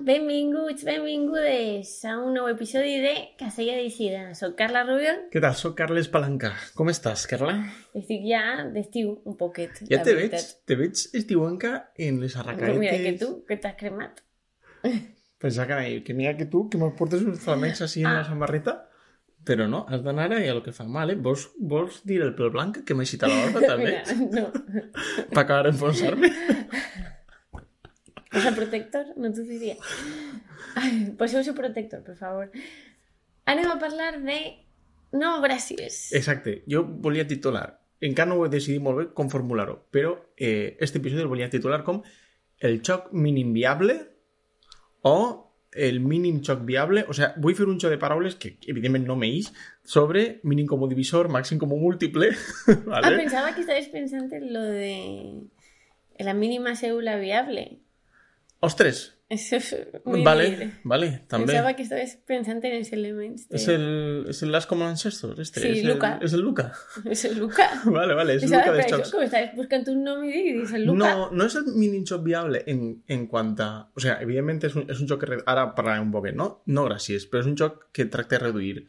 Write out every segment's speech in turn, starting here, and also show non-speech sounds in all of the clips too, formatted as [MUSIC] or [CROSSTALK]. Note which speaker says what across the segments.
Speaker 1: Benvinguts, benvingudes a un nou episodi de Casella d'Eixida. Soc Carla Rubio,
Speaker 2: Què tal? Soc Carles Palanca. Com estàs, Carla?
Speaker 1: estic ja d'estiu un poquet,
Speaker 2: Ja
Speaker 1: la
Speaker 2: te veig,
Speaker 1: veritat.
Speaker 2: te veig estiuanca en les arracaetes.
Speaker 1: Però mira, que tu, que t'has cremat.
Speaker 2: Pensava que, anava a dir que mira que tu, que me portes uns flamencs així en
Speaker 1: Ah.
Speaker 2: la samarreta. Però no, has d'anar a el que fa mal, eh? Vols, vols dir el pèl blanc que m'ha aixit a la barba, també?
Speaker 1: [LAUGHS] Mira, no.
Speaker 2: Per acabar d'enfonsar-me?
Speaker 1: ¿Posa protector? No t'ho diria. Ai, Poseu-se protector, per favor. Anem a parlar de... No, gràcies.
Speaker 2: Exacte, jo volia titular, encara no ho he decidit molt bé com formular-ho, però eh, este episodi el volia titular com el xoc mínim viable o el mínim xoc viable, o sea, vull fer un xoc de paraules que evidentment no m'eix sobre mínim com divisor, màxim com múltiple, [LAUGHS]
Speaker 1: Ah,
Speaker 2: vale?
Speaker 1: pensaba que estabais pensando en lo de la mínima célula viable.
Speaker 2: Ostres,
Speaker 1: Eso es muy
Speaker 2: vale,
Speaker 1: libre.
Speaker 2: vale, també.
Speaker 1: Pensaba que estabais pensando en ese elemento.
Speaker 2: És el, és el Last Common Ancestor, este.
Speaker 1: Sí,
Speaker 2: és
Speaker 1: Luca.
Speaker 2: El, és el Luca. [LAUGHS]
Speaker 1: Es el Luca.
Speaker 2: Vale, vale, és el
Speaker 1: Pensaba
Speaker 2: Luca
Speaker 1: que
Speaker 2: de xocs.
Speaker 1: como estabais buscando un nombre y dices el Luca.
Speaker 2: No, no es el mini shop viable en, en cuanto a... O sea, evidentemente es un, es un joc que... re- Ara parlarem un poquet, no? No gràcies, però és un joc que tracta de reduir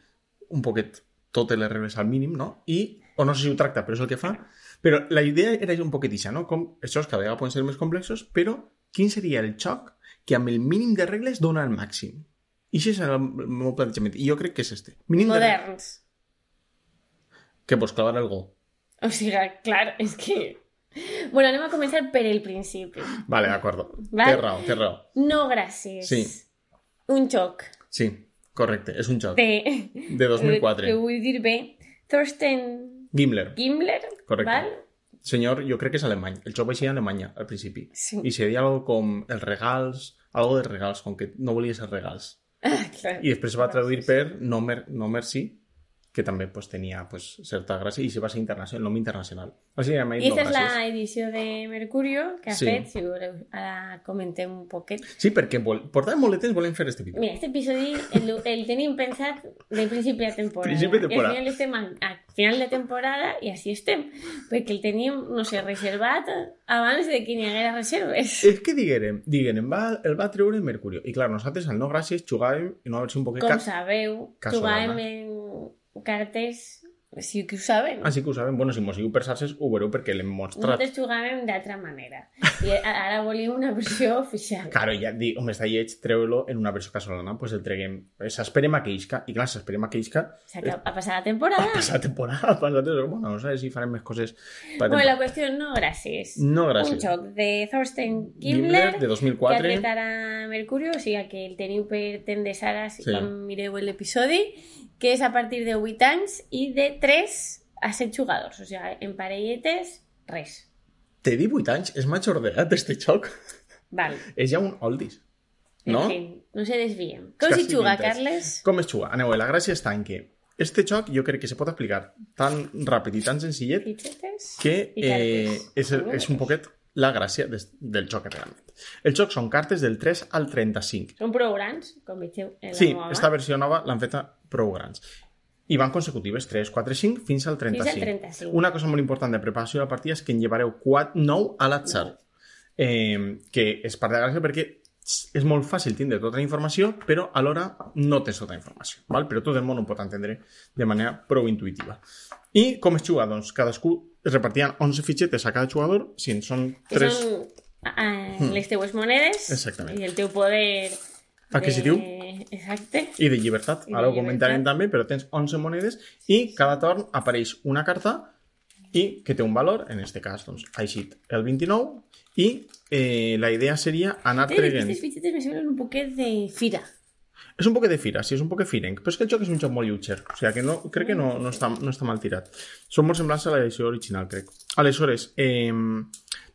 Speaker 2: un poquet totes les regles al mínim, no? I, o no sé si ho tracta, però és el que fa. Però la idea era un poquet ixa, no? Com els jocs cada vegada poden ser més complexos, però quin seria el xoc que amb el mínim de regles dona el màxim? I això és el meu plantejament. I jo crec que és este. Mínim de regles.
Speaker 1: Moderns.
Speaker 2: Que pots clavar el go.
Speaker 1: O sea, claro, es que... Bueno, vamos a comenzar por el principio.
Speaker 2: Vale, d'acord.
Speaker 1: Vale.
Speaker 2: Té raó, té raó.
Speaker 1: No gracias.
Speaker 2: Sí.
Speaker 1: Un shock
Speaker 2: Sí, correcte. És un joc
Speaker 1: de...
Speaker 2: de 2004.
Speaker 1: Que voy a decir B. Thorsten
Speaker 2: Gimler.
Speaker 1: Gimbler.
Speaker 2: Correcte.
Speaker 1: ¿Vale?
Speaker 2: Senyor, jo crec que és alemany. El joc va ser a Alemanya, al principi.
Speaker 1: Sí. [LAUGHS]
Speaker 2: I seria algo com els regals, algo de regals, com que no volia ser regals.
Speaker 1: Ah, Claro.
Speaker 2: I després es va traduir per No, Mer no Mercy, que també pues, tenia pues, certa gràcia, i se va ser internacional, el nom internacional. O sigui, m'ha dit
Speaker 1: I
Speaker 2: no
Speaker 1: aquesta és
Speaker 2: gràcies.
Speaker 1: la edició de Mercurio que ha
Speaker 2: Sí.
Speaker 1: fet, si voleu, ara comentem un poquet.
Speaker 2: Sí, perquè vol... portàvem molt de temps volent fer este vídeo.
Speaker 1: Mira, este episodi el, el tenim pensat de principi de temporada.
Speaker 2: Principi de temporada.
Speaker 1: I al final estem a, a final de temporada i així estem, perquè el teníem, no sé, reservat abans de que n'hi haguera reserves.
Speaker 2: És que diguérem, diguérem va, el va treure Mercurio. I clar, nosaltres al No Gràcies jugàvem en una versió un poquet...
Speaker 1: Com
Speaker 2: ca-
Speaker 1: sabeu,
Speaker 2: casolana.
Speaker 1: jugàvem en cartes, si que ho saben.
Speaker 2: Ah, sí que ho sabem. Bueno, si mos seguiu per xarxes, ho veureu perquè l'hem mostrat.
Speaker 1: Nosaltres jugàvem d'altra manera. I a- ara volíem una versió oficial.
Speaker 2: Claro, ja dic, home, està lleig treure-lo en una versió casolana, pues el treguem. S'esperem a que isca, i clar, s'esperem a que isca [LAUGHS]
Speaker 1: S'acaba- Ha passat la temporada.
Speaker 2: passa temporada, passa temporada, bueno, no sé si farem més coses per
Speaker 1: Bueno,
Speaker 2: temporada.
Speaker 1: la cuestión no, gracias.
Speaker 2: No, gràcies.
Speaker 1: Un shock de Thorsten
Speaker 2: Gimler,
Speaker 1: Gimbler,
Speaker 2: de
Speaker 1: que
Speaker 2: 2004,
Speaker 1: atletarà Mercurio, o sigui que el teniu per Tendesara si
Speaker 2: Sí.
Speaker 1: sí. mireu l'episodi, que és a partir de 8 anys i de 3 a 7 jugadors, o sigui, en parelletes, res.
Speaker 2: té 18 anys, és major d'edat este xoc, [LAUGHS]
Speaker 1: Val.
Speaker 2: és ja un oldies,
Speaker 1: En
Speaker 2: no?
Speaker 1: fi, no se desviem. Com
Speaker 2: Quasi
Speaker 1: s'hi juga,
Speaker 2: vintage.
Speaker 1: Carles?
Speaker 2: Com es juga? Aneu, la gràcia està en que este xoc jo crec que se pot aplicar tan ràpid i tan senzillet
Speaker 1: Fitxetes?
Speaker 2: que
Speaker 1: I cartes.
Speaker 2: eh, és, és un poquet la gràcia des, del xoc realment. El xoc són cartes del 3 al 35,
Speaker 1: Són prou grans, com veieu en la
Speaker 2: Sí,
Speaker 1: meva mà.
Speaker 2: esta versió nova l'han feta prou grans. I van consecutives 3, 4, 5 fins al 35.
Speaker 1: Fins al 35.
Speaker 2: Una cosa molt important de preparació de la partida és que en llevareu 4, 9 a l'atzar. Eh, que és part de la gràcia perquè és molt fàcil tindre tota la informació, però alhora no tens tota la informació. Val? Però tot el món ho pot entendre de manera prou intuïtiva. I com es juga? Doncs cadascú es repartien 11 fitxetes a cada jugador, si en són
Speaker 1: Que
Speaker 2: 3...
Speaker 1: són eh,
Speaker 2: Hmm.
Speaker 1: les teues monedes
Speaker 2: Exactament.
Speaker 1: i el teu poder
Speaker 2: Adquisitiu.
Speaker 1: de- Exacte.
Speaker 2: i de llibertat.
Speaker 1: I de
Speaker 2: Ara ho comentarem
Speaker 1: llibertat.
Speaker 2: també, però tens 11 monedes i cada torn apareix una carta i que té un valor, en este cas, doncs, ha eixit el 29, i eh, la idea seria anar
Speaker 1: Té,
Speaker 2: traient...
Speaker 1: Aquestes fitxetes me semblen un poquet de fira.
Speaker 2: És un poquet de fira, sí, és un poquet firenc, però és que el joc és un joc molt lleuger, o sigui que no, crec que no, no, està, no està mal tirat. Són molt semblants a l'edició original, crec. Aleshores, eh,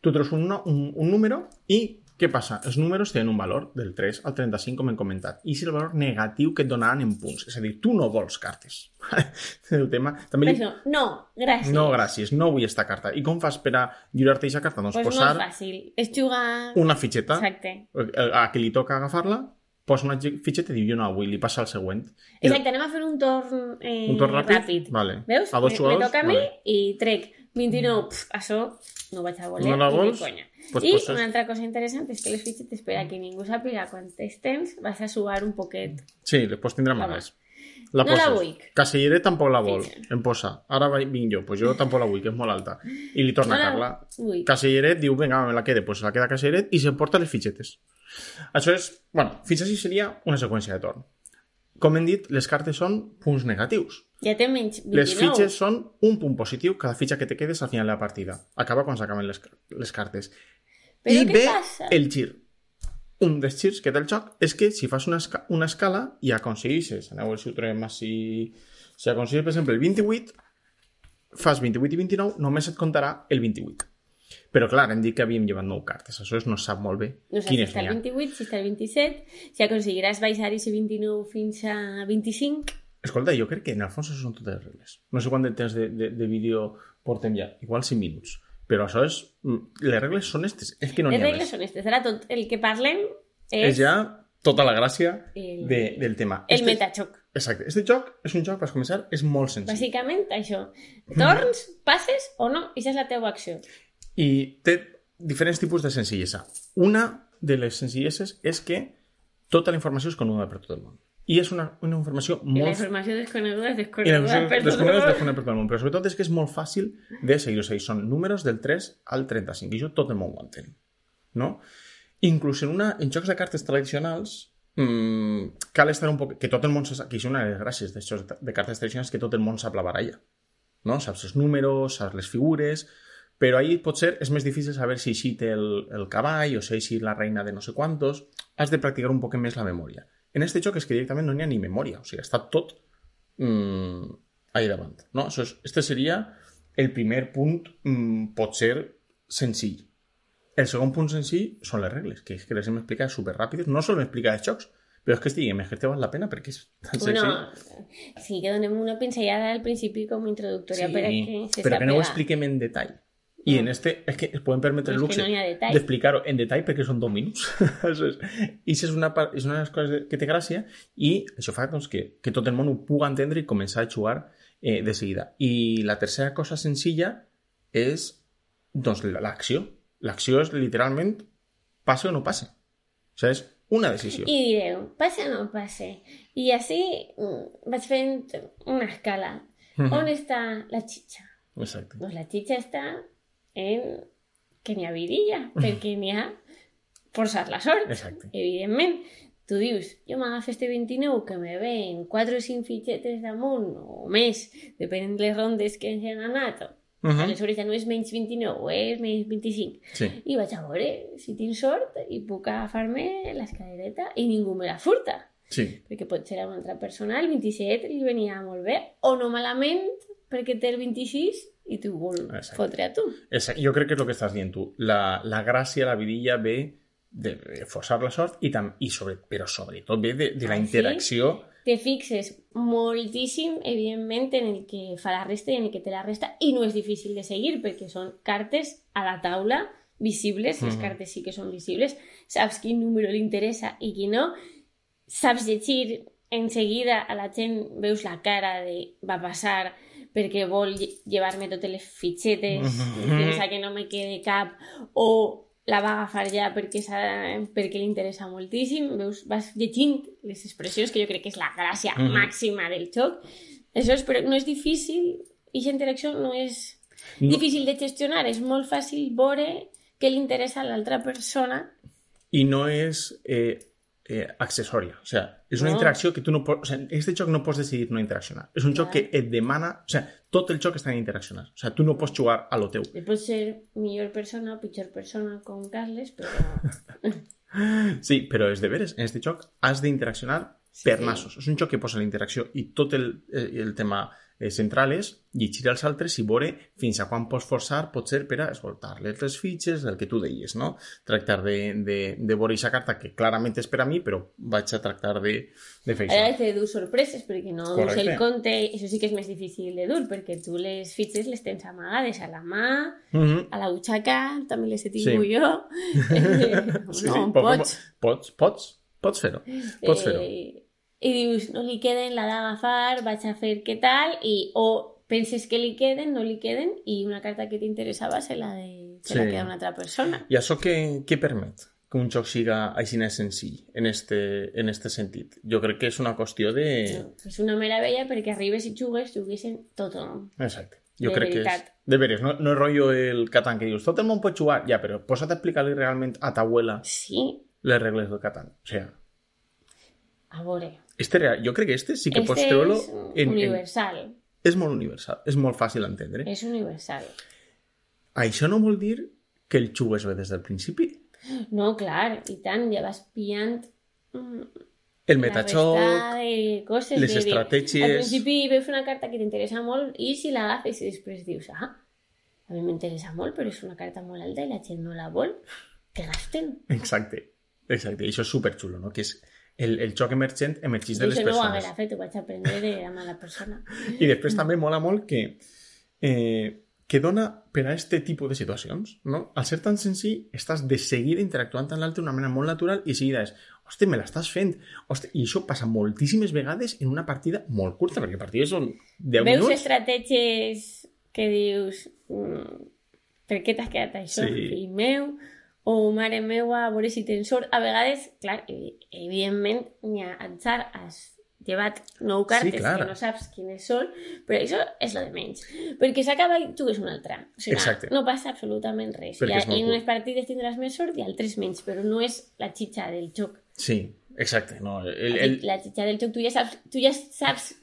Speaker 2: tu treus un, no- un, un número i què passa? Els números tenen un valor del 3 al 35, com hem comentat, i és el valor negatiu que et donaran en punts. És a dir, tu no vols cartes. [LAUGHS] el tema... També li...
Speaker 1: Penso, no, gràcies.
Speaker 2: No, gràcies, no vull esta carta. I com fas per a lliurar-te aquesta carta? Doncs
Speaker 1: Pues
Speaker 2: posar
Speaker 1: molt fàcil. És jugar...
Speaker 2: una fitxeta
Speaker 1: Exacte.
Speaker 2: a a qui li toca agafar-la, posa una fitxeta i diu jo no la vull, li passa al següent. I la-
Speaker 1: Exacte, anem a fer un torn, eh,
Speaker 2: Un torn ràpid? Vale.
Speaker 1: Veus?
Speaker 2: A dos
Speaker 1: Me-
Speaker 2: jugadors?
Speaker 1: Me toca a mi
Speaker 2: Vale.
Speaker 1: i trec 29, pf, això no vaig a voler
Speaker 2: No la
Speaker 1: ni de
Speaker 2: vols?
Speaker 1: conya.
Speaker 2: Pues
Speaker 1: I
Speaker 2: poses-
Speaker 1: una altra cosa interessant és que les fitxes t'espera que ningú sàpiga quant tens, vas a suar un poquet.
Speaker 2: Sí, després tindrà
Speaker 1: Home.
Speaker 2: males.
Speaker 1: No la
Speaker 2: poses.
Speaker 1: vull.
Speaker 2: Caselleret tampoc la vol.
Speaker 1: Fitxa.
Speaker 2: Em posa. Ara vaig- vinc jo. Pues jo tampoc la vull, que és molt alta. I li torna
Speaker 1: No
Speaker 2: a
Speaker 1: la
Speaker 2: Carla.
Speaker 1: vull.
Speaker 2: Caselleret diu, vinga, me la quede. Pues se la queda Caselleret i s'emporta les fitxetes. Això és... Bueno, fins així seria una seqüència de torn. Com hem dit, les cartes són punts negatius.
Speaker 1: Ja té menys 29.
Speaker 2: Les fitxes són un punt positiu cada fitxa que te quedes al final de la partida. Acaba quan s'acaben les, les cartes.
Speaker 1: Però
Speaker 2: I
Speaker 1: què
Speaker 2: ve
Speaker 1: passa?
Speaker 2: el gir. Un dels girs que té el joc és que si fas una, esca una escala i aconseguixes, aneu el sutrem si... Si aconseguis, per exemple, el 28, fas 28 i 29, només et comptarà el 28. Però clar, hem dit que havíem llevat 9 cartes, aleshores no se sap molt bé
Speaker 1: No saps si
Speaker 2: quines
Speaker 1: està
Speaker 2: n'hi
Speaker 1: el
Speaker 2: ha.
Speaker 1: 28, si està el 27, si aconseguiràs baixar ese 29 fins a 25.
Speaker 2: Escolta, jo crec que en el fons això són totes regles. No sé quant de temps de, de, de vídeo portem ja, igual 5 minuts. Però això és... mm, Les regles són estes, és que no
Speaker 1: les
Speaker 2: n'hi ha
Speaker 1: regles
Speaker 2: més.
Speaker 1: són aquestes. Ara tot el que parlem és,
Speaker 2: És ja tota la gràcia
Speaker 1: El-
Speaker 2: de, este del tema.
Speaker 1: el metachoc.
Speaker 2: Exacte. Este joc és un joc, per començar, és molt senzill.
Speaker 1: Bàsicament això. Torns, passes o no, i ja és la teva acció.
Speaker 2: I té diferents tipus de senzillesa. Una de les senzilleses és que tota la informació és coneguda per tot el món. I és una, una informació
Speaker 1: I la
Speaker 2: molt...
Speaker 1: informació desconeguda és
Speaker 2: I la
Speaker 1: desconeguda.
Speaker 2: informació desconeguda és desconeguda per tot el món. Però sobretot és que és molt fàcil de seguir. O sigui, són números del 3 al 35. I això tot el món ho entén. No? Inclús en, una, en jocs de cartes tradicionals mmm, cal estar un poc... Que tot el món... se sap- Que és una de les gràcies dels jocs de- de cartes tradicionals que tot el món sap la baralla. no? Saps els números, saps les figures, però ahir potser és més difícil saber si així té el, el cavall o si així la reina de no sé quantos. Has de practicar un poc més la memòria. En este joc és que directament no n'hi ha ni memòria, o sigui, està tot mm, ahí davant. No? Això és, este seria el primer punt mm, potser senzill. El segon punt senzill són les regles, que és que les hem explicat superràpides. No solen explicar els jocs, però és que estiguem, és que te val la pena perquè és tan senzill.
Speaker 1: Bueno, sí que donem una pinzellada al principi com a introductòria per a que se
Speaker 2: pero que no ho
Speaker 1: sàpiga.
Speaker 2: expliquem en detall. I en este, es que es pueden permetre el
Speaker 1: No, és que
Speaker 2: luxe
Speaker 1: no hi ha detall.
Speaker 2: de explicar-ho en detall perquè són dos [LAUGHS] minuts. Això és, I això és una, part, és una de les coses de- que té gràcia i això fa doncs, pues, que, que tot el món ho puga entendre i començar a jugar eh, de seguida. I la tercera cosa senzilla és doncs, la- l'acció. L'acció és literalment passe o no passe. O sigui, és una decisió.
Speaker 1: I direu, passe o no passe. I així mm, vaig fent una escala.
Speaker 2: Mhm.
Speaker 1: On està la xitxa?
Speaker 2: Exacte.
Speaker 1: Doncs la xitxa està en que n'hi ha vidilla, perquè n'hi ha forçar la sort,
Speaker 2: Exacte.
Speaker 1: evidentment. Tu dius, jo m'agafo este 29 que me ven 4 o 5 fitxetes damunt, o més, depenent de les rondes que ens han anat.
Speaker 2: Mhm.
Speaker 1: Aleshores ja no és menys 29, és menys 25.
Speaker 2: Sí.
Speaker 1: I vaig a veure si tinc sort i puc agafar-me l'escadereta i ningú me la furta
Speaker 2: Sí.
Speaker 1: perquè pot ser a una altra persona, el 27 li venia molt bé, o no malament, perquè té el 26 i t'ho vol
Speaker 2: Exacte.
Speaker 1: fotre a tu.
Speaker 2: Esa- yo creo que es lo que estás diciendo tú. La, la gracia, la vidilla ve de, de forzar la sort y, tam, y sobre, pero sobre todo ve de, de la
Speaker 1: Ah, sí.
Speaker 2: interacción.
Speaker 1: Te fixes moltíssim, evidentment, en el que fa la resta i en el que té la resta, i no és difícil de seguir, perquè són cartes a la taula visibles, les
Speaker 2: Mhm.
Speaker 1: cartes sí que són visibles, saps quin número li interessa i quin no, saps llegir en seguida a la gent veus la cara de va passar perquè vol lle- llevar-me totes les fitxetes
Speaker 2: Mhm.
Speaker 1: pensa que no me quede cap o la va agafar ja perquè, s'ha- perquè li interessa moltíssim veus, vas llegint les expressions que jo crec que és la gràcia
Speaker 2: Mhm.
Speaker 1: màxima del joc això és, però no és difícil i interacció no és
Speaker 2: No-
Speaker 1: difícil de gestionar és molt fàcil veure què li interessa a l'altra persona
Speaker 2: y no es eh, eh, accesoria. O sea, es una
Speaker 1: No.
Speaker 2: interacción que tú no puedes. O sea, en este shock no puedes decidir no interaccionar. Es un shock
Speaker 1: Claro.
Speaker 2: que te demana. O sea, todo el shock está en interaccionar. O sea, tú no puedes jugar a lo teu.
Speaker 1: Jo pot ser millor persona o pitjor persona com Carles,
Speaker 2: [LAUGHS]
Speaker 1: però...
Speaker 2: Sí, pero es deberes. En este shock has de interaccionar
Speaker 1: Sí,
Speaker 2: per
Speaker 1: sí.
Speaker 2: nassos. És un joc que posa la interacció i tot el, eh, el tema eh, central és llegir als altres i veure fins a quan pots forçar, potser per a escoltar-les les fitxes, el que tu deies, no? Tractar de, de, de veure aquesta carta que clarament és per a mi, però vaig a tractar de, de fer
Speaker 1: Ara
Speaker 2: això.
Speaker 1: has de dur sorpreses, perquè no dus
Speaker 2: Correcte.
Speaker 1: el compte, això sí que és més difícil de dur, perquè tu les fitxes les tens amagades a la mà,
Speaker 2: Mhm.
Speaker 1: a la butxaca, també les he tingut
Speaker 2: Sí. [LAUGHS]
Speaker 1: jo.
Speaker 2: Sí,
Speaker 1: Eh, no,
Speaker 2: sí,
Speaker 1: pots.
Speaker 2: pots, pots, pots fer-ho. Pots fer-ho.
Speaker 1: Eh, I dius, no li queden, la d'agafar, vaig a fer què tal, i o penses que li queden, no li queden, i una carta que t'interessava se la, de... se la
Speaker 2: Sí.
Speaker 1: queda una altra persona.
Speaker 2: I això què, què permet? Que un joc siga així de senzill, en este, en este sentit. Jo crec que és una qüestió de...
Speaker 1: No, és "Pues una meravella perquè arribes i jugues, juguessin tothom.
Speaker 2: Exacte. Jo
Speaker 1: De
Speaker 2: crec que és...
Speaker 1: veritat.
Speaker 2: De veres, no, no és rotllo el Catan que dius tot el món pot jugar, ja, però posa't a explicar-li realment a ta abuela
Speaker 1: Sí,
Speaker 2: les regles del Catan. O sigui,
Speaker 1: a veure.
Speaker 2: este, real- jo crec que este sí que
Speaker 1: este
Speaker 2: pots treure-lo...
Speaker 1: és
Speaker 2: En, en,
Speaker 1: universal. Eh.
Speaker 2: és molt universal, és molt fàcil d'entendre.
Speaker 1: És universal.
Speaker 2: Això no vol dir que el jugues bé des del principi.
Speaker 1: No, clar, i tant, ja vas pillant mm,
Speaker 2: El
Speaker 1: la
Speaker 2: metachoc...
Speaker 1: resta de coses,
Speaker 2: les
Speaker 1: de dir,
Speaker 2: estratègies.
Speaker 1: Al principi veus una carta que t'interessa molt i si la agafes i després dius, ah, a mi m'interessa molt, però és una carta molt alta i la gent no la vol, que gasten.
Speaker 2: Exacte, exacte. I això és superxulo, no? Que és el, el xoc emergent emergís de
Speaker 1: Jo
Speaker 2: les
Speaker 1: això no ho
Speaker 2: persones.
Speaker 1: haguera fet, ho vaig aprendre de la mala persona.
Speaker 2: I després també mola molt que, eh, que dona per a este tipus de situacions, no? Al ser tan senzill, estàs de seguida interactuant amb l'altre d'una manera molt natural i de seguida és, hosti, me l'estàs fent. Hosti, I això passa moltíssimes vegades en una partida molt curta, perquè partides són
Speaker 1: Veus
Speaker 2: 10 minuts.
Speaker 1: estratègies que dius, mm, per què t'has quedat això,
Speaker 2: Sí.
Speaker 1: fill meu? O mare meua, a veure si tens sort. A vegades, clar, evi- evidentment, n'hi ha atzar, has llevat nou cartes
Speaker 2: clar.
Speaker 1: que no saps quines són, però això és lo de menys. Perquè s'acaba i jugues una altra. O sigui,
Speaker 2: Exacte.
Speaker 1: no passa absolutament res.
Speaker 2: Perquè
Speaker 1: I, a-
Speaker 2: és molt
Speaker 1: i en
Speaker 2: curt.
Speaker 1: unes partides tindràs més sort i altres menys, però no és la xitxa del joc.
Speaker 2: Sí, exacte. No, el,
Speaker 1: El...
Speaker 2: el...
Speaker 1: La xitxa del joc, tu ja saps, tu ja saps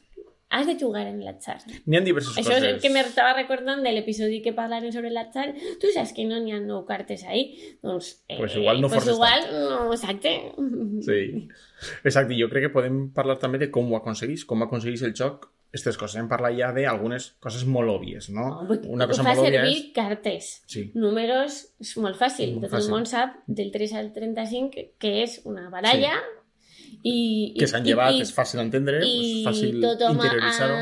Speaker 1: has de jugar en l'atzar.
Speaker 2: N'hi ha diverses
Speaker 1: Això és
Speaker 2: coses.
Speaker 1: el que m'estava recordant de l'episodi que parlarem sobre l'atzar. Tu saps que no n'hi ha nou cartes ahí. Doncs, eh,
Speaker 2: Pues igual no
Speaker 1: pues
Speaker 2: forces
Speaker 1: igual, no, exacte.
Speaker 2: Sí, exacte. Jo crec que podem parlar també de com ho aconseguís, com aconseguís el xoc, aquestes coses. Hem parlat ja d'algunes coses molt òbvies, no? Una cosa
Speaker 1: Ho fa
Speaker 2: molt òbvia
Speaker 1: servir
Speaker 2: és...
Speaker 1: cartes.
Speaker 2: Sí,
Speaker 1: Números és molt fàcil.
Speaker 2: Molt
Speaker 1: Tot
Speaker 2: fàcil.
Speaker 1: el món sap del 3 al 35 que és una baralla i, i,
Speaker 2: que s'han
Speaker 1: i-
Speaker 2: llevat,
Speaker 1: i-
Speaker 2: és fàcil d'entendre, és
Speaker 1: i
Speaker 2: fàcil
Speaker 1: tothom ha,
Speaker 2: interioritzar-ho.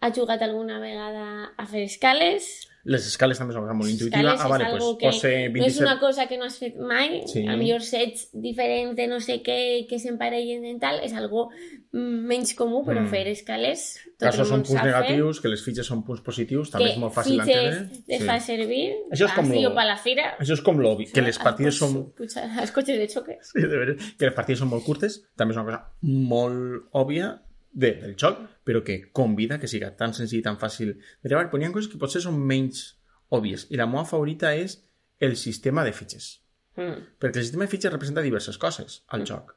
Speaker 1: ha jugat alguna vegada a fer escales
Speaker 2: Les escales també són una cosa molt
Speaker 1: Les
Speaker 2: intuïtiva.
Speaker 1: escales
Speaker 2: Ah,
Speaker 1: és
Speaker 2: vale,
Speaker 1: algo
Speaker 2: pues,
Speaker 1: que
Speaker 2: pose
Speaker 1: No és
Speaker 2: 27...
Speaker 1: una cosa que no has fet mai,
Speaker 2: Sí.
Speaker 1: sí. a millor sets diferent, de no sé què, que s'emparellen en tal, és algo mm, menys comú, però
Speaker 2: Mm.
Speaker 1: mm. fer escales... tot el
Speaker 2: Casos són
Speaker 1: món sap
Speaker 2: punts
Speaker 1: fer,
Speaker 2: negatius, que les fitxes són punts positius, també és molt fàcil
Speaker 1: fitxes
Speaker 2: d'entendre.
Speaker 1: les fa servir,
Speaker 2: Això és com
Speaker 1: així
Speaker 2: lo-
Speaker 1: o per la fira...
Speaker 2: Això és com l'obvi, que les
Speaker 1: als
Speaker 2: partides
Speaker 1: cotxes-
Speaker 2: són
Speaker 1: cotxes- Als cotxes de xoque.
Speaker 2: [LAUGHS] Sí, de veres. Que les partides són molt curtes, també és una cosa molt òbvia de, del joc, però que convida que siga tan senzill i tan fàcil de treballar. Però hi ha coses que potser són menys òbvies. I la meva favorita és el sistema de fitxes.
Speaker 1: Mm.
Speaker 2: Perquè el sistema de fitxes representa diverses coses al
Speaker 1: Mm.
Speaker 2: joc.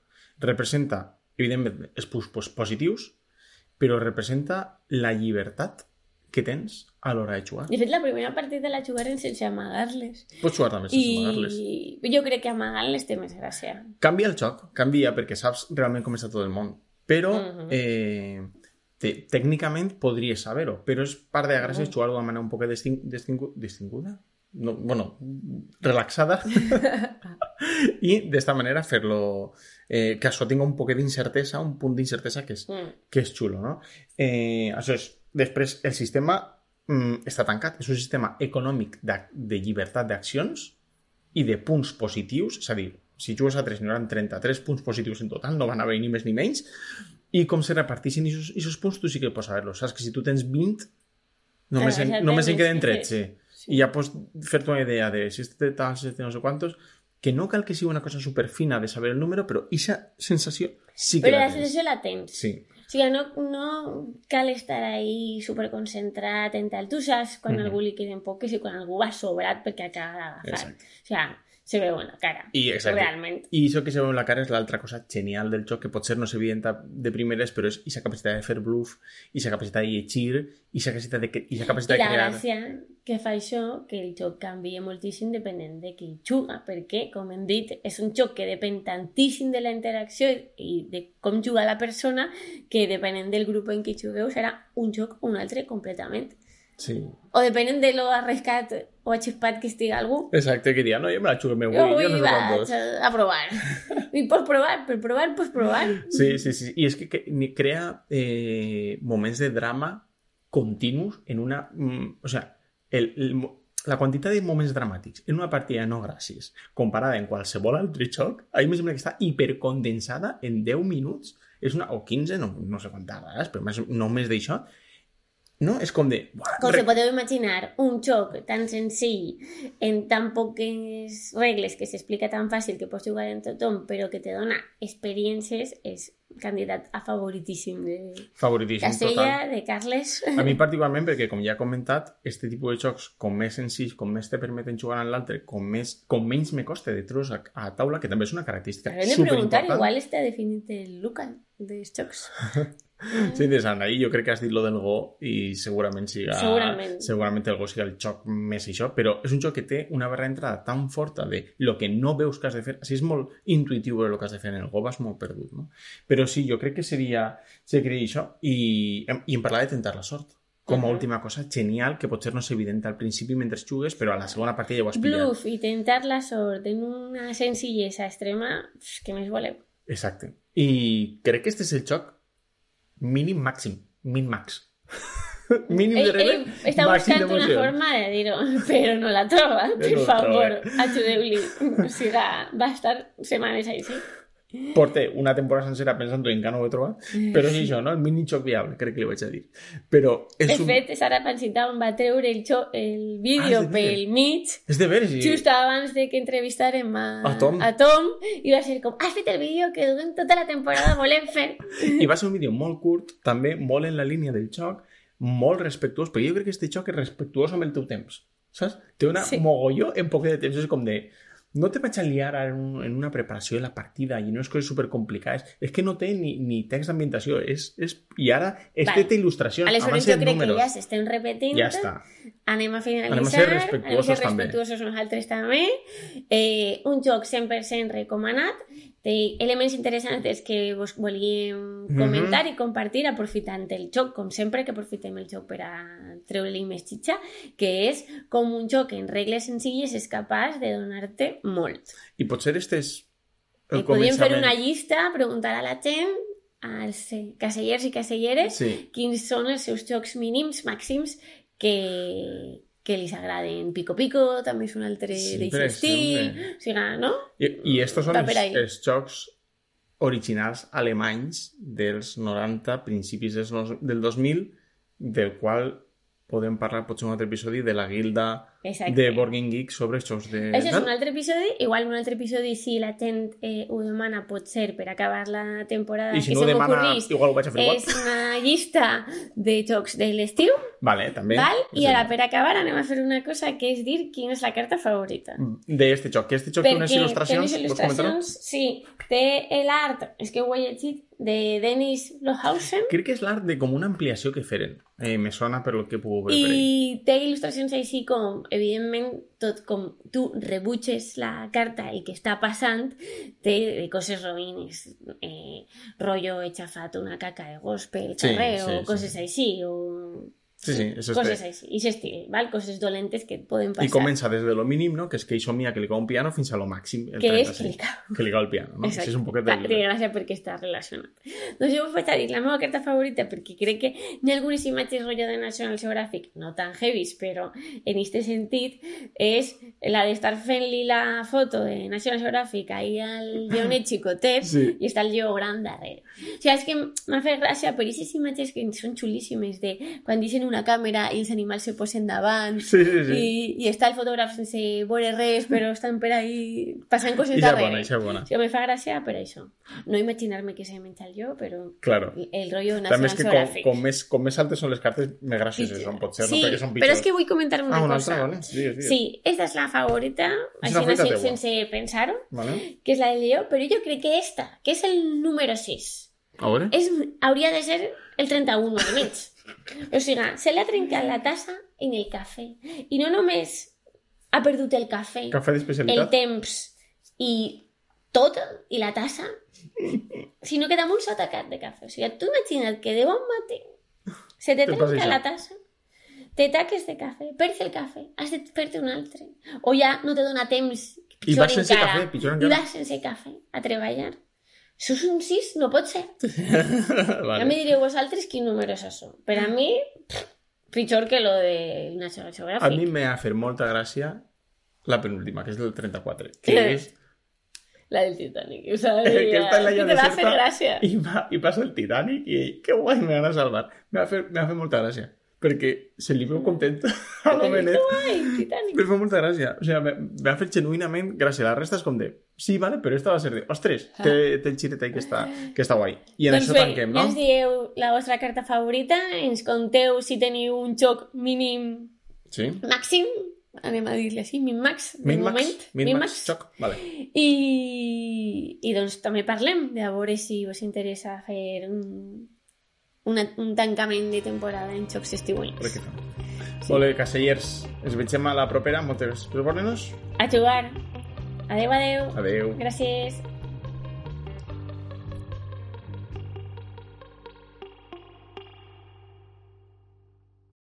Speaker 2: Representa, evidentment, els punts pos- positius, però representa la llibertat que tens a l'hora de jugar.
Speaker 1: De fet, la primera partida la jugaren sense amagar-les.
Speaker 2: Pots jugar també sense amagar-les.
Speaker 1: I jo crec que amagant-les té més gràcia.
Speaker 2: canvia el joc, canvia perquè saps realment com està tot el món. Però
Speaker 1: Mhm.
Speaker 2: eh, te, tècnicament podries saber-ho, però és part de la gràcia
Speaker 1: Mhm.
Speaker 2: jugar-ho de manera un poc destin, destingu, distinguda? No, bueno, relaxada. I d'esta manera fer-lo... Eh, que això tinga un poquet d'incertesa, un punt d'incertesa que és
Speaker 1: Mm.
Speaker 2: que és xulo, no? Eh, això és, després, el sistema mm, està tancat. És un sistema econòmic de, de llibertat d'accions i de punts positius, és a dir, si jugues a 3 n'hi hauran 33 punts positius en total, no van haver ni més ni menys, i com se repartixen aquests punts tu sí que pots saber-los. Saps que si tu tens 20, només,
Speaker 1: Ah,
Speaker 2: en,
Speaker 1: ja
Speaker 2: només
Speaker 1: tens,
Speaker 2: en
Speaker 1: sí,
Speaker 2: queden 13.
Speaker 1: sí.
Speaker 2: I ja pots fer-te una idea de si este tal, si este no sé quantos, que no cal que sigui una cosa superfina de saber el número, però aquesta sensació sí que
Speaker 1: Però
Speaker 2: la
Speaker 1: la
Speaker 2: tens.
Speaker 1: sensació la tens.
Speaker 2: Sí.
Speaker 1: O sigui, no, no cal estar ahí superconcentrat en tal. Tu saps quan
Speaker 2: Mhm.
Speaker 1: algú li queden poques i quan algú va sobrat perquè acaba d'agafar.
Speaker 2: Exacte.
Speaker 1: O sigui, se veu en la cara.
Speaker 2: I, exacte.
Speaker 1: Realment.
Speaker 2: I això que se veu en la cara és l'altra cosa genial del joc, que potser no és evident de primeres, però és aquesta capacitat de fer bluff, i aquesta capacitat de llegir, i aquesta capacitat de, i aquesta
Speaker 1: I
Speaker 2: capacitat de
Speaker 1: la
Speaker 2: crear...
Speaker 1: gràcia que fa això, que el joc canvia moltíssim depenent de qui juga, perquè, com hem dit, és un joc que depèn tantíssim de la interacció i de com juga la persona, que depenent del grup en què jugueu serà un joc o un altre completament.
Speaker 2: Sí.
Speaker 1: O depenent de lo arriscat o aixepat que estigui algú,
Speaker 2: Exacte, que diria, no, jo me la jugo, me vull,
Speaker 1: Jo
Speaker 2: jo
Speaker 1: avui
Speaker 2: no sé
Speaker 1: vaig
Speaker 2: quantos.
Speaker 1: a, a
Speaker 2: [LAUGHS]
Speaker 1: provar. I pots provar, per provar, pots provar.
Speaker 2: Sí, sí, sí. I és que, que ni- crea eh, moments de drama continus en una... mm, o sea, el, el, mo- la quantitat de moments dramàtics en una partida de no gràcies comparada en qualsevol altre joc, a mi em sembla que està hipercondensada en 10 minuts és una, o 15, no, no sé quantes hores, però més, no més d'això, No? És com de... "Buah,
Speaker 1: Com
Speaker 2: re-
Speaker 1: se podeu imaginar, un xoc tan senzill, en tan poques regles, que s'explica tan fàcil, que pots jugar en tothom, però que te dona experiències, és candidat a favoritíssim de
Speaker 2: Favoritíssim, total.
Speaker 1: Castella, de
Speaker 2: [LAUGHS]
Speaker 1: Carles.
Speaker 2: A mi particularment perquè, com ja he comentat, este tipus de jocs, com més senzills, com més te permeten jugar en l'altre, com, més, com menys me costa de trossos a, a taula, que també és una característica
Speaker 1: Haurem de preguntar,
Speaker 2: superimportant.
Speaker 1: igual està definit el Luca dels xocs.
Speaker 2: [LAUGHS] Sí, interessant. Ahir jo crec que has dit lo del Go i segurament siga...
Speaker 1: Segurament.
Speaker 2: Segurament el Go siga el xoc més això, però és un joc que té una barra d'entrada tan forta de lo que no veus que has de fer. Així és molt intuïtiu el que has de fer en el Go, vas molt perdut, no? Però sí, jo crec que seria, seria això i, i en parlar de tentar la sort. Com a
Speaker 1: Ujú.
Speaker 2: última cosa, genial, que potser no és evident al principi mentre jugues, però a la segona partida ja ho has pillat.
Speaker 1: Bluff i tentar la sort en una senzillesa extrema, pff, que més voleu?
Speaker 2: Exacte. I crec que este és el xoc mínim màxim, min max.
Speaker 1: [LAUGHS]
Speaker 2: mínim
Speaker 1: Ell,
Speaker 2: de
Speaker 1: ell
Speaker 2: rebel,
Speaker 1: està
Speaker 2: màxim
Speaker 1: buscant una
Speaker 2: d'emoció.
Speaker 1: forma de dir-ho, però no la troba, per
Speaker 2: no la
Speaker 1: favor, ajudeu-li. [LAUGHS] O sigui, va estar setmanes així.
Speaker 2: porté una temporada sencera pensant en que no ho he trobat, però és això, no? El mini xoc viable, crec que li vaig a dir. Però és
Speaker 1: De
Speaker 2: un...
Speaker 1: fet, Sara Pansitown va treure el, xo, el vídeo
Speaker 2: Ah, és de
Speaker 1: pel
Speaker 2: veres.
Speaker 1: mig,
Speaker 2: És de Vergi.
Speaker 1: just abans de que entrevistàrem a,
Speaker 2: A Tom.
Speaker 1: a Tom, i va ser com, has fet el vídeo que durant tota la temporada volem fer.
Speaker 2: I va ser un vídeo molt curt, també molt en la línia del xoc, molt respectuós, però jo crec que este xoc és respectuós amb el teu temps, saps? Té una
Speaker 1: Sí.
Speaker 2: sí. mogolló en poc de temps, és com de... No te vaig a liar ara en, un, en una preparació de la partida i no és coses supercomplicades. És que no té ni, ni text d'ambientació. És, és... I ara, este
Speaker 1: Vale.
Speaker 2: té il·lustracions,
Speaker 1: Aleshores,
Speaker 2: avancen
Speaker 1: jo crec
Speaker 2: números.
Speaker 1: que ja s'estem repetint.
Speaker 2: ja està.
Speaker 1: anem a finalitzar,
Speaker 2: Anem a ser respectuosos
Speaker 1: anem a ser
Speaker 2: també.
Speaker 1: respectuosos nosaltres també. Eh, un joc 100% recomanat, té elements interessants que vos volíem
Speaker 2: Mhm.
Speaker 1: comentar i compartir aprofitant el joc, com sempre que aprofitem el joc per a treure-li més xitxa, que és com un joc en regles senzilles és capaç de donar-te molt.
Speaker 2: I potser este és
Speaker 1: Eh, podríem fer una llista, preguntar a la gent, als eh, casellers i caselleres,
Speaker 2: Sí.
Speaker 1: quins són els seus jocs mínims, màxims, que, que li agraden. Pico Pico també és un altre
Speaker 2: Sí,
Speaker 1: d'aquest
Speaker 2: per
Speaker 1: estil.
Speaker 2: exemple.
Speaker 1: O sigui, no?
Speaker 2: I, i estos són
Speaker 1: Va
Speaker 2: els,
Speaker 1: per ahí.
Speaker 2: els jocs originals alemanys dels 90, principis dels, no- del 2000, del qual podem parlar potser en un altre episodi de la guilda
Speaker 1: Exacte.
Speaker 2: de Board Game Geek sobre els jocs de...
Speaker 1: Això és
Speaker 2: tal.
Speaker 1: un altre episodi. Igual un altre episodi, si la gent eh, ho demana, pot ser per acabar la temporada
Speaker 2: I si
Speaker 1: que
Speaker 2: no ho
Speaker 1: se
Speaker 2: demana,
Speaker 1: m'ocorrís.
Speaker 2: igual ho vaig a fer
Speaker 1: És
Speaker 2: igual.
Speaker 1: una llista de jocs de l'estiu,
Speaker 2: Vale, també.
Speaker 1: val? I
Speaker 2: Sí.
Speaker 1: ara, per acabar, anem a fer una cosa que és dir quina és la carta favorita.
Speaker 2: De este joc. Que este joc té unes
Speaker 1: Perquè
Speaker 2: il·lustracions.
Speaker 1: té unes
Speaker 2: Vols comentar-ho?
Speaker 1: il·lustracions, sí. Té l'art, és que ho he llegit, de Dennis Lohausen,
Speaker 2: Crec que és l'art de com una ampliació que feren. Eh, me sona per lo que puc veure. per ahí.
Speaker 1: I té il·lustracions així com, evidentment, tot com tu rebutges la carta i que està passant, té de coses roïnes, eh, rollo he xafat una caca de gos pel
Speaker 2: Sí,
Speaker 1: carrer,
Speaker 2: sí,
Speaker 1: o
Speaker 2: sí.
Speaker 1: coses així, o...
Speaker 2: Sí, sí, és este.
Speaker 1: coses així, i s'estil, val? Coses dolentes que et poden
Speaker 2: I
Speaker 1: passar.
Speaker 2: comença des de lo mínim, no? que és que això mia que li cau un piano fins a lo màxim, el
Speaker 1: Que és
Speaker 2: 36.
Speaker 1: que li cau.
Speaker 2: Que li cau el piano, no? Això
Speaker 1: Exacte.
Speaker 2: és un poquet de...
Speaker 1: Va, té gràcia perquè està relacionat. Doncs jo us vaig a dir la meva carta favorita perquè crec que hi ha algunes imatges rotllo de National Geographic, no tan heavies, però en este sentit, és la de estar fent-li la foto de National Geographic ahí al
Speaker 2: [LAUGHS]
Speaker 1: lleonet xicotet
Speaker 2: Sí.
Speaker 1: i està el lleó gran darrere. O sigui, és que m'ha fet gràcia per aquestes imatges que són xulíssimes de quan deixen una càmera i els animals se posen davant
Speaker 2: Sí, sí, sí.
Speaker 1: i, i està el fotògraf sense veure res, però estan per ahí passant coses
Speaker 2: I ja és
Speaker 1: darrere.
Speaker 2: bona, i ja és bona.
Speaker 1: Sí, me fa gracia, pero eso. No imaginarme que se mental yo, pero
Speaker 2: Claro.
Speaker 1: el rollo nacional
Speaker 2: També és que com,
Speaker 1: geogràfic.
Speaker 2: com, més, com més altes són les cartes, més gracioses
Speaker 1: Sí,
Speaker 2: són, potser,
Speaker 1: sí,
Speaker 2: no? Perquè són
Speaker 1: pero
Speaker 2: pitjors.
Speaker 1: es que voy a comentar una
Speaker 2: Ah, una
Speaker 1: cosa.
Speaker 2: altra, vale? Digues, digues.
Speaker 1: Sí, esta es la favorita,
Speaker 2: Es
Speaker 1: así
Speaker 2: la favorita
Speaker 1: no sé,
Speaker 2: teua.
Speaker 1: sense pensar,
Speaker 2: Vale?
Speaker 1: que es la del Leo, pero yo creo que esta, que es el número 6,
Speaker 2: A veure?
Speaker 1: es, hauria de ser el 31 de menys. O sigui, se l'ha trencat la tassa en el cafè. I no només ha perdut el cafè,
Speaker 2: Cafè
Speaker 1: el
Speaker 2: d'especialitat?
Speaker 1: temps i tot, i la tassa, sinó que damunt s'ha tacat de cafè. O sigui, tu imagina't que de bon matí se te
Speaker 2: Te passa
Speaker 1: trenca
Speaker 2: això.
Speaker 1: la tassa, te taques de cafè, perds el cafè, has de fer-te un altre, o ja no te dona temps,
Speaker 2: I
Speaker 1: pitjor
Speaker 2: vas sense
Speaker 1: encara,
Speaker 2: cafè, pitjor
Speaker 1: i
Speaker 2: encara.
Speaker 1: vas sense cafè a treballar. Això és un sis, no pot ser.
Speaker 2: [LAUGHS] vale.
Speaker 1: Ja me direu vosaltres quin número és això. Per a mi, pitjor que lo de National Geographic.
Speaker 2: A mi m'ha fet molta gràcia la penúltima, que és del 34, que
Speaker 1: Eh. [LAUGHS]
Speaker 2: és
Speaker 1: La del Titanic.
Speaker 2: [LAUGHS]
Speaker 1: O sea,
Speaker 2: Aquesta és la
Speaker 1: que
Speaker 2: llave
Speaker 1: te va a
Speaker 2: deserta
Speaker 1: fer gràcia.
Speaker 2: I, va, I passa el Titanic i que guai, me van a salvar. Me va fer, me va fer molta gràcia. perquè se li veu content [LAUGHS] a la Benet.
Speaker 1: Ai,
Speaker 2: [LAUGHS]
Speaker 1: Titanic.
Speaker 2: Li fa molta gràcia. O sigui, m'ha fet genuïnament gràcia. La resta és com de, sí, vale, però esta va ser de, ostres, té, té el xiretet que està, que està guai. I en
Speaker 1: doncs
Speaker 2: això
Speaker 1: bé,
Speaker 2: tanquem, no?
Speaker 1: ens dieu la vostra carta favorita, ens conteu si teniu un xoc mínim
Speaker 2: Sí.
Speaker 1: màxim, anem a dir-li així, min-max, de moment.
Speaker 2: Min-max, min-max,
Speaker 1: min-max.
Speaker 2: xoc. Vale.
Speaker 1: I, I doncs també parlem de veure si us interessa fer un, una, un tancament de temporada en xocs
Speaker 2: Crec
Speaker 1: estiuencs.
Speaker 2: que fa. Molt bé, Casellers, ens vegem a la propera. Moltes gràcies per veure-nos.
Speaker 1: A jugar! Adeu, adeu!
Speaker 2: Adéu.
Speaker 1: Gràcies!